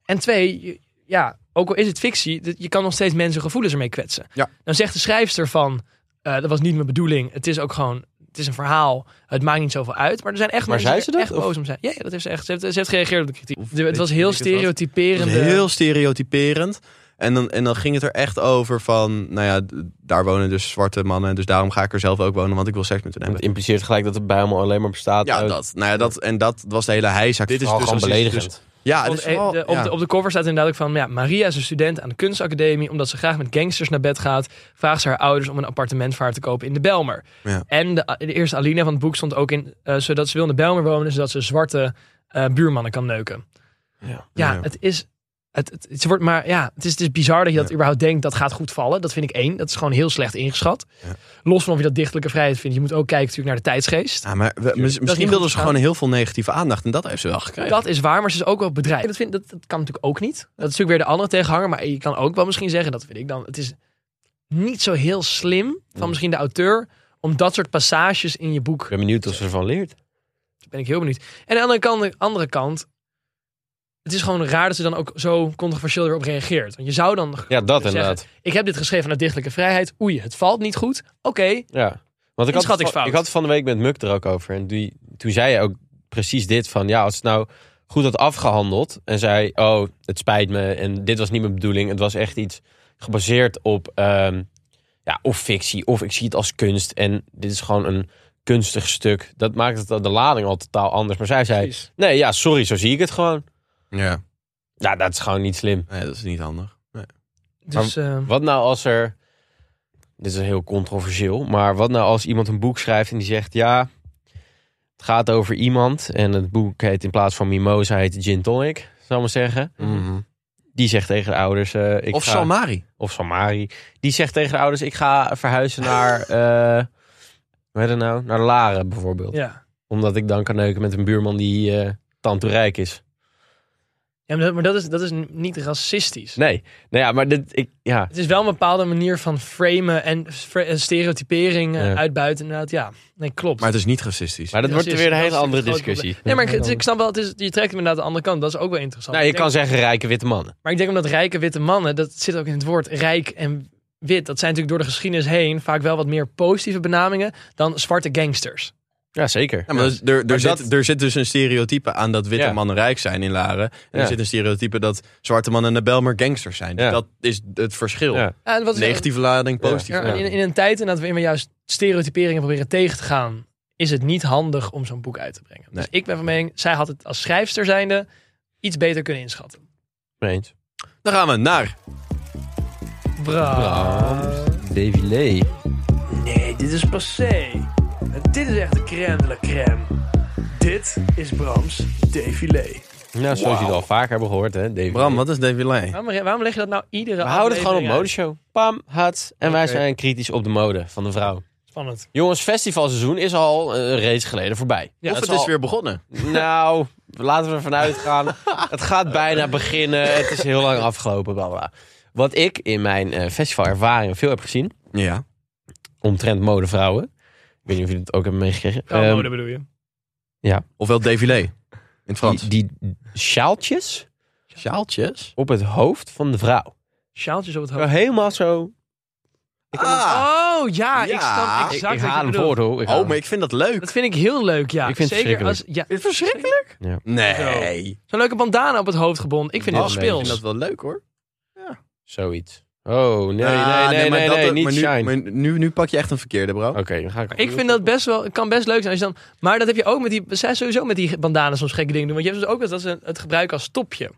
[SPEAKER 2] En twee, je- ja, ook al is het fictie, dit- je kan nog steeds mensen gevoelens ermee kwetsen.
[SPEAKER 1] Ja.
[SPEAKER 2] Dan zegt de schrijfster van, eh, dat was niet mijn bedoeling. Het is ook gewoon, het is een verhaal. Het maakt niet zoveel uit. Maar er zijn echt
[SPEAKER 3] Maar
[SPEAKER 2] mensen die
[SPEAKER 3] zei ze dat,
[SPEAKER 2] echt boos om zijn. Ja, ja, dat heeft ze echt. Ze heeft, ze heeft gereageerd op de kritiek.
[SPEAKER 1] Of
[SPEAKER 2] De- het
[SPEAKER 1] weet-
[SPEAKER 2] was heel
[SPEAKER 1] weet ik het wat.
[SPEAKER 2] stereotyperend.
[SPEAKER 1] Het was heel stereotyperend. En dan, en dan ging het er echt over van, nou ja, d- daar wonen dus zwarte mannen. Dus daarom ga ik er zelf ook wonen, want ik wil seks met hun hebben.
[SPEAKER 3] Het impliceert gelijk dat het bij hem alleen maar bestaat.
[SPEAKER 1] Ja,
[SPEAKER 3] uit-
[SPEAKER 1] dat. Nou ja, dat, en dat was de hele heisa.
[SPEAKER 3] Dit is dus gewoon beledigend.
[SPEAKER 1] ja, het
[SPEAKER 2] Want,
[SPEAKER 1] Ah, is
[SPEAKER 2] eh,
[SPEAKER 1] vooral-
[SPEAKER 2] de- op,
[SPEAKER 1] ja.
[SPEAKER 2] de, op de cover staat inderdaad ook van... Ja, Maria is een student aan de kunstacademie. Omdat ze graag met gangsters naar bed gaat... vraagt ze haar ouders om een appartement voor haar te kopen in de Belmer.
[SPEAKER 1] Ja.
[SPEAKER 2] En de, de eerste Alina van het boek stond ook in... eh, zodat ze wil in de Belmer wonen... zodat ze zwarte eh, buurmannen kan neuken.
[SPEAKER 3] Ja.
[SPEAKER 2] Ja,
[SPEAKER 1] Ja.
[SPEAKER 2] het is... Het, het, het wordt maar, ja, het is, het is bizar dat je dat
[SPEAKER 1] Ja.
[SPEAKER 2] überhaupt denkt, dat gaat goed vallen. Dat vind ik één. Dat is gewoon heel slecht ingeschat.
[SPEAKER 1] Ja.
[SPEAKER 2] Los van of je dat dichtelijke vrijheid vindt. Je moet ook kijken natuurlijk naar de tijdsgeest.
[SPEAKER 1] Ja, maar we- mis- misschien
[SPEAKER 2] goed
[SPEAKER 1] wilden ze
[SPEAKER 2] gedaan.
[SPEAKER 1] gewoon heel veel negatieve aandacht. En dat heeft ze wel gekregen.
[SPEAKER 2] Dat is waar, maar ze is ook wel bedrijf. Dat, vind, dat, dat kan natuurlijk ook niet. Dat is natuurlijk weer de andere tegenhanger. Maar je kan ook wel misschien zeggen, dat weet ik dan. Het is niet zo heel slim van misschien de auteur... om dat soort passages in je boek...
[SPEAKER 3] Ik ben benieuwd of ze ervan leert.
[SPEAKER 2] ben ik heel benieuwd. En aan de andere kant, andere kant het is gewoon raar dat ze dan ook zo controversieel erop reageert. Want je zou dan
[SPEAKER 3] Ja, dat
[SPEAKER 2] zeggen,
[SPEAKER 3] inderdaad.
[SPEAKER 2] Ik heb dit geschreven naar dichtelijke vrijheid. Oei, het valt niet goed. Oké,
[SPEAKER 3] Ja. Want ik had, het van,
[SPEAKER 2] Inschattingsfout.
[SPEAKER 3] ik had het van de week met Muk er ook over. En die, toen zei hij ook precies dit van... Ja, als het nou goed had afgehandeld... En zei, oh, het spijt me. En dit was niet mijn bedoeling. Het was echt iets gebaseerd op... ehm, ja, of fictie. Of ik zie het als kunst. En dit is gewoon een kunstig stuk. Dat maakt het, de lading al totaal anders. Maar zij zei...
[SPEAKER 2] precies.
[SPEAKER 3] Nee, ja, sorry, zo zie ik het gewoon.
[SPEAKER 1] Ja,
[SPEAKER 3] Ja, dat is gewoon niet slim.
[SPEAKER 1] nee, dat is niet handig. Nee.
[SPEAKER 2] Dus eh,
[SPEAKER 3] Wat nou als er... Dit is heel controversieel, maar wat nou als iemand een boek schrijft en die zegt... Ja, het gaat over iemand en het boek heet in plaats van Mimosa heet het Gin Tonic, zou ik maar zeggen.
[SPEAKER 2] Mm.
[SPEAKER 3] Die zegt tegen de ouders... eh, Mhm. ik
[SPEAKER 1] Of
[SPEAKER 3] ga,
[SPEAKER 1] Salmari.
[SPEAKER 3] Of Samari. Die zegt tegen de ouders, ik ga verhuizen naar... eh hoe heet het nou? Naar Laren bijvoorbeeld.
[SPEAKER 2] ja.
[SPEAKER 3] Omdat ik dan kan neuken met een buurman die eh tantoerijk is.
[SPEAKER 2] ja, maar dat, maar dat is, dat is niet racistisch.
[SPEAKER 3] Nee, nou ja, maar dit, ik, ja,
[SPEAKER 2] Het is wel een bepaalde manier van framen en fra- en stereotypering eh,
[SPEAKER 3] Ja.
[SPEAKER 2] uitbuiten. Inderdaad, ja, nee, klopt.
[SPEAKER 1] Maar het is niet racistisch.
[SPEAKER 3] Maar dat wordt
[SPEAKER 2] Racisme,
[SPEAKER 3] weer een hele
[SPEAKER 2] dat is
[SPEAKER 3] andere
[SPEAKER 2] een groot
[SPEAKER 3] discussie.
[SPEAKER 2] Nee, maar ik, het- ik snap wel, het is, je trekt hem inderdaad de andere kant. Dat is ook wel interessant.
[SPEAKER 3] Nou, je
[SPEAKER 2] Ik denk-
[SPEAKER 3] kan zeggen rijke witte mannen.
[SPEAKER 2] Maar ik denk omdat rijke witte mannen, dat zit ook in het woord rijk en wit. Dat zijn natuurlijk door de geschiedenis heen vaak wel wat meer positieve benamingen dan zwarte gangsters.
[SPEAKER 3] Ja, zeker.
[SPEAKER 1] Ja, maar dus er, er,
[SPEAKER 3] Maar
[SPEAKER 1] zit,
[SPEAKER 3] dat-
[SPEAKER 1] er zit dus een stereotype aan dat witte
[SPEAKER 3] Ja.
[SPEAKER 1] mannen rijk zijn in Laren. En er
[SPEAKER 3] Ja.
[SPEAKER 1] zit een stereotype dat zwarte mannen naar Belmer gangsters zijn. Dus
[SPEAKER 3] Ja.
[SPEAKER 1] dat is het verschil.
[SPEAKER 3] Ja.
[SPEAKER 2] Ja, en wat is-
[SPEAKER 1] Negatieve lading,
[SPEAKER 3] Ja.
[SPEAKER 1] positieve.
[SPEAKER 2] Ja,
[SPEAKER 1] lading.
[SPEAKER 2] en in, in een tijd en dat we juist stereotyperingen proberen tegen te gaan, is het niet handig om zo'n boek uit te brengen. Dus ik ben van mening, zij had het als schrijfster zijnde iets beter kunnen inschatten.
[SPEAKER 3] Mee eens.
[SPEAKER 1] Dan gaan we naar.
[SPEAKER 2] Bra.
[SPEAKER 3] Davy Lee.
[SPEAKER 5] Nee, dit is passé. Dit is echt de crème de la crème. Dit is Brams défilé.
[SPEAKER 3] Nou, zoals jullie al vaker hebben gehoord, hè, Davy
[SPEAKER 1] Bram,
[SPEAKER 3] Lee.
[SPEAKER 1] wat is David Lay?
[SPEAKER 2] Waarom, waarom leg je dat nou iedere
[SPEAKER 3] We houden het gewoon op
[SPEAKER 2] aflevering uit?
[SPEAKER 3] modeshow. Pam, hats. En wij
[SPEAKER 2] Oké.
[SPEAKER 3] zijn kritisch op de mode van de vrouw.
[SPEAKER 2] Spannend.
[SPEAKER 3] Jongens, festivalseizoen is al eh, reeds geleden voorbij.
[SPEAKER 2] Ja,
[SPEAKER 1] of
[SPEAKER 3] dat
[SPEAKER 1] het
[SPEAKER 3] zal-
[SPEAKER 1] is weer begonnen.
[SPEAKER 3] Nou, laten we ervan uitgaan. het gaat bijna beginnen. Het is heel lang afgelopen, bla bla. Wat ik in mijn eh, festivalervaring veel heb gezien,
[SPEAKER 1] Ja.
[SPEAKER 3] omtrent modevrouwen. Ik weet niet of jullie het ook hebben meegekregen.
[SPEAKER 2] Oh,
[SPEAKER 3] Ehm,
[SPEAKER 2] mode bedoel je?
[SPEAKER 1] Ofwel David Lay. In het Frans.
[SPEAKER 3] die, die sjaaltjes.
[SPEAKER 1] sjaaltjes.
[SPEAKER 3] op het hoofd van de vrouw.
[SPEAKER 2] Sjaaltjes op het
[SPEAKER 3] Zo
[SPEAKER 2] hoofd.
[SPEAKER 3] Oh. Nou, helemaal zo.
[SPEAKER 1] Ah,
[SPEAKER 2] Oh ja, ik
[SPEAKER 1] Ja.
[SPEAKER 2] snap
[SPEAKER 1] Ik-
[SPEAKER 2] exact
[SPEAKER 3] ik
[SPEAKER 2] wat je
[SPEAKER 3] haal hem
[SPEAKER 2] bedoelt.
[SPEAKER 3] voor, hoor. Ik haal
[SPEAKER 1] oh,
[SPEAKER 3] hem.
[SPEAKER 1] maar ik vind dat leuk.
[SPEAKER 2] Dat vind ik heel leuk, ja.
[SPEAKER 3] Ik vind het
[SPEAKER 2] Zeker als,
[SPEAKER 3] verschrikkelijk.
[SPEAKER 2] ja,
[SPEAKER 1] Is het verschrikkelijk?
[SPEAKER 3] Ja.
[SPEAKER 1] Nee.
[SPEAKER 2] Zo'n leuke bandana op het hoofd gebonden. Ik vind
[SPEAKER 3] Oh,
[SPEAKER 2] het
[SPEAKER 3] nee,
[SPEAKER 1] Ik vind
[SPEAKER 2] speels.
[SPEAKER 1] dat wel leuk hoor.
[SPEAKER 3] Zoiets. Oh, nee,
[SPEAKER 1] Ah,
[SPEAKER 3] nee, nee,
[SPEAKER 1] maar
[SPEAKER 3] nee,
[SPEAKER 1] dat-
[SPEAKER 3] nee,
[SPEAKER 1] maar
[SPEAKER 3] niet
[SPEAKER 1] nu,
[SPEAKER 3] shine.
[SPEAKER 1] maar nu, nu pak je echt een verkeerde, bro.
[SPEAKER 3] Oké, dan ga ik...
[SPEAKER 2] Ik vind dat best wel, het kan best leuk zijn. Als je dan, maar dat heb je ook met die, zij sowieso met die bandanas soms gekke dingen doen. Want je hebt dus ook wel dat ze het gebruiken als topje.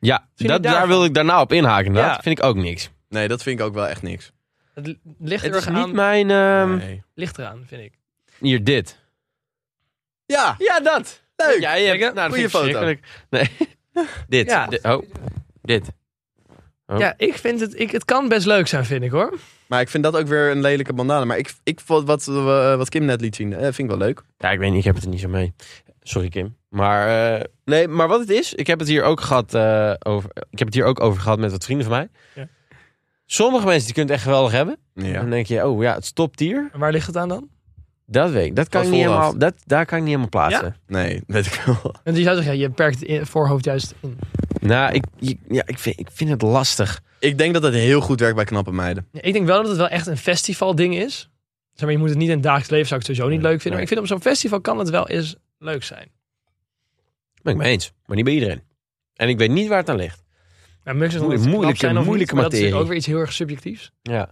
[SPEAKER 3] Ja,
[SPEAKER 2] je
[SPEAKER 3] dat, daar
[SPEAKER 2] daarvan?
[SPEAKER 3] wil ik daarna op inhaken. inderdaad.
[SPEAKER 2] Ja.
[SPEAKER 3] vind ik ook niks.
[SPEAKER 1] Nee, dat vind ik ook wel echt niks.
[SPEAKER 2] Het li- ligt
[SPEAKER 3] Het
[SPEAKER 2] er
[SPEAKER 3] is
[SPEAKER 2] erg aan,
[SPEAKER 3] niet mijn... ehm,
[SPEAKER 1] Nee.
[SPEAKER 2] ligt eraan, vind ik.
[SPEAKER 3] Hier, dit.
[SPEAKER 1] Ja,
[SPEAKER 3] Ja, dat.
[SPEAKER 1] leuk.
[SPEAKER 3] Jij hebt... Nou, dat
[SPEAKER 1] Goeie
[SPEAKER 3] vind ik
[SPEAKER 1] foto.
[SPEAKER 3] verschrikkelijk. Nee. dit.
[SPEAKER 2] Ja.
[SPEAKER 3] Di- oh, dit. Oh.
[SPEAKER 2] Ja, ik vind het, ik, het kan best leuk zijn, vind ik hoor.
[SPEAKER 1] Maar ik vind dat ook weer een lelijke bandana. Maar ik, ik vond wat, eh, wat Kim net liet zien, eh, vind ik wel leuk.
[SPEAKER 3] Ja, ik weet niet, ik heb het er niet zo mee. Sorry, Kim. Maar, eh, nee, maar wat het is, ik heb het hier ook gehad, eh, over, ik heb het hier ook over gehad met wat vrienden van mij.
[SPEAKER 2] Ja.
[SPEAKER 3] Sommige mensen die kunnen het echt geweldig hebben.
[SPEAKER 1] Ja.
[SPEAKER 3] Dan denk je, oh ja, het is top tier.
[SPEAKER 2] En waar ligt het aan dan?
[SPEAKER 3] Dat weet ik. Dat kan
[SPEAKER 1] Wat
[SPEAKER 3] ik niet
[SPEAKER 1] vooraf?
[SPEAKER 3] helemaal, dat, daar kan ik niet helemaal plaatsen.
[SPEAKER 1] Nee, weet ik wel.
[SPEAKER 2] Want je zou zeggen, ja, je perkt het in- voorhoofd juist in.
[SPEAKER 3] Nou, ik, je- ja, ik, vind, ik vind het lastig.
[SPEAKER 1] Ik denk dat het heel goed werkt bij knappe meiden.
[SPEAKER 2] Ja, ik denk wel dat het wel echt een festivalding is. Zeg maar, je moet het niet in het dagelijks leven, zou ik sowieso niet leuk vinden. Maar ik
[SPEAKER 3] nee.
[SPEAKER 2] vind op zo'n festival kan het wel eens leuk zijn.
[SPEAKER 3] Ben ik mee eens. Maar niet bij iedereen. En ik weet niet waar het aan ligt.
[SPEAKER 2] Nou, Mux is nog
[SPEAKER 3] Moeilijke-
[SPEAKER 2] niet knap
[SPEAKER 3] moeilijke-
[SPEAKER 2] zijn of
[SPEAKER 3] moeilijke
[SPEAKER 2] niet, maar Dat is natuurlijk
[SPEAKER 3] materie.
[SPEAKER 2] ook weer iets heel erg subjectiefs.
[SPEAKER 3] Ja.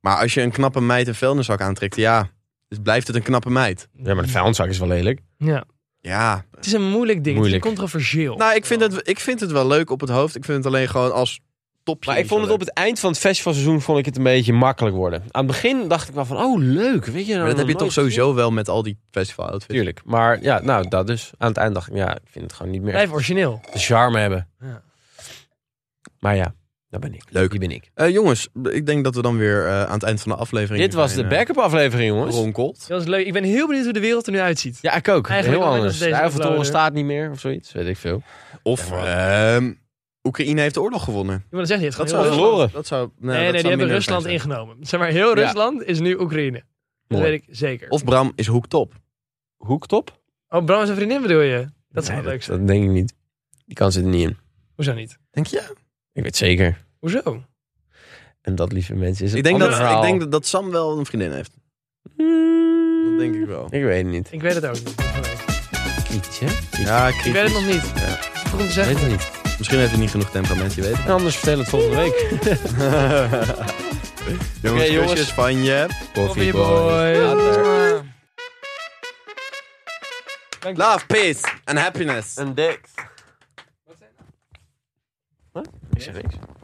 [SPEAKER 1] Maar als je een knappe meid een vuilniszak aantrekt, ja, dus blijft het een knappe meid.
[SPEAKER 3] ja, maar de vuilniszak is wel lelijk.
[SPEAKER 2] Ja.
[SPEAKER 1] Ja.
[SPEAKER 2] Het is een moeilijk ding. Het
[SPEAKER 3] Moeilijk.
[SPEAKER 2] is controversieel.
[SPEAKER 1] Nou, ik vind, het, ik vind het wel leuk op het hoofd. Ik vind het alleen gewoon als topje.
[SPEAKER 3] Maar ik
[SPEAKER 1] niet
[SPEAKER 3] vond
[SPEAKER 1] zo
[SPEAKER 3] het op
[SPEAKER 1] leuk.
[SPEAKER 3] het eind van het festivalseizoen vond ik het een beetje makkelijk worden. Aan het begin dacht ik wel van, oh leuk, weet je.
[SPEAKER 1] Maar dat heb
[SPEAKER 3] nog
[SPEAKER 1] je
[SPEAKER 3] nooit
[SPEAKER 1] toch sowieso wel met al die festival outfits.
[SPEAKER 3] Tuurlijk. Maar ja, nou, dat dus. Aan het eind dacht ik, ja, ik vind het gewoon niet meer
[SPEAKER 2] Blijf
[SPEAKER 3] echt
[SPEAKER 2] origineel.
[SPEAKER 3] de charme hebben.
[SPEAKER 2] Ja.
[SPEAKER 3] Maar ja, dat ben ik.
[SPEAKER 1] Leuk.
[SPEAKER 3] Die ben ik.
[SPEAKER 1] Eh, jongens, ik denk dat we dan weer eh, aan het eind van de aflevering.
[SPEAKER 3] Dit was de
[SPEAKER 1] zijn, eh,
[SPEAKER 3] backup aflevering, jongens.
[SPEAKER 1] ronkelt.
[SPEAKER 2] Dat is leuk. Ik ben heel benieuwd hoe de wereld er nu uitziet.
[SPEAKER 3] Ja, ik ook.
[SPEAKER 2] Eigenlijk
[SPEAKER 3] Heel
[SPEAKER 2] alleen
[SPEAKER 3] anders.
[SPEAKER 2] dat deze
[SPEAKER 3] De Eiffeltoren
[SPEAKER 2] uploaden.
[SPEAKER 3] staat niet meer of zoiets. Weet ik veel.
[SPEAKER 1] Of ehm, Oekraïne heeft de oorlog gewonnen.
[SPEAKER 2] Ik wil dat zeggen, die
[SPEAKER 1] Dat
[SPEAKER 2] heeft
[SPEAKER 1] zou
[SPEAKER 2] gewoon heel
[SPEAKER 3] verloren.
[SPEAKER 1] Dat
[SPEAKER 2] Rusland-
[SPEAKER 1] zou, nee,
[SPEAKER 2] Nee, nee,
[SPEAKER 1] dat
[SPEAKER 2] die
[SPEAKER 1] zou
[SPEAKER 2] hebben
[SPEAKER 1] minder
[SPEAKER 2] Rusland
[SPEAKER 1] fijn zijn.
[SPEAKER 2] ingenomen. Zeg maar, heel
[SPEAKER 3] Ja.
[SPEAKER 2] Rusland is nu Oekraïne. Dat
[SPEAKER 3] Mooi.
[SPEAKER 2] weet ik zeker.
[SPEAKER 1] Of Bram is hoektop.
[SPEAKER 3] Hoektop?
[SPEAKER 2] Oh, Bram is een vriendin bedoel je? Dat zou
[SPEAKER 3] Nee,
[SPEAKER 2] wel leuk zijn.
[SPEAKER 3] Dat denk ik niet. Die kans zit er niet in.
[SPEAKER 2] Hoezo niet?
[SPEAKER 1] Denk je?
[SPEAKER 3] Ik weet zeker.
[SPEAKER 2] Hoezo?
[SPEAKER 3] En dat, lieve mensen, is een
[SPEAKER 1] Dus Ik denk,
[SPEAKER 3] ander
[SPEAKER 1] dat, ik
[SPEAKER 3] verhaal.
[SPEAKER 1] denk dat, dat Sam wel een vriendin heeft.
[SPEAKER 3] Hmm,
[SPEAKER 1] Dat denk ik wel.
[SPEAKER 3] Ik weet het niet.
[SPEAKER 2] Ik weet het ook niet. Ik
[SPEAKER 3] Kietje?
[SPEAKER 1] Ja,
[SPEAKER 2] weet het
[SPEAKER 1] kritisch.
[SPEAKER 2] nog niet. Vroeg te
[SPEAKER 3] Ik weet
[SPEAKER 2] zeggen.
[SPEAKER 3] het niet.
[SPEAKER 1] Misschien heeft hij niet genoeg temperament, je weet het.
[SPEAKER 3] En anders vertel het volgende week.
[SPEAKER 1] Jongens,
[SPEAKER 3] jongens.
[SPEAKER 1] kusjes van je.
[SPEAKER 2] Coffee boy. Later.
[SPEAKER 1] Love, peace and happiness.
[SPEAKER 3] Een dik. Wat? Ik zeg niks.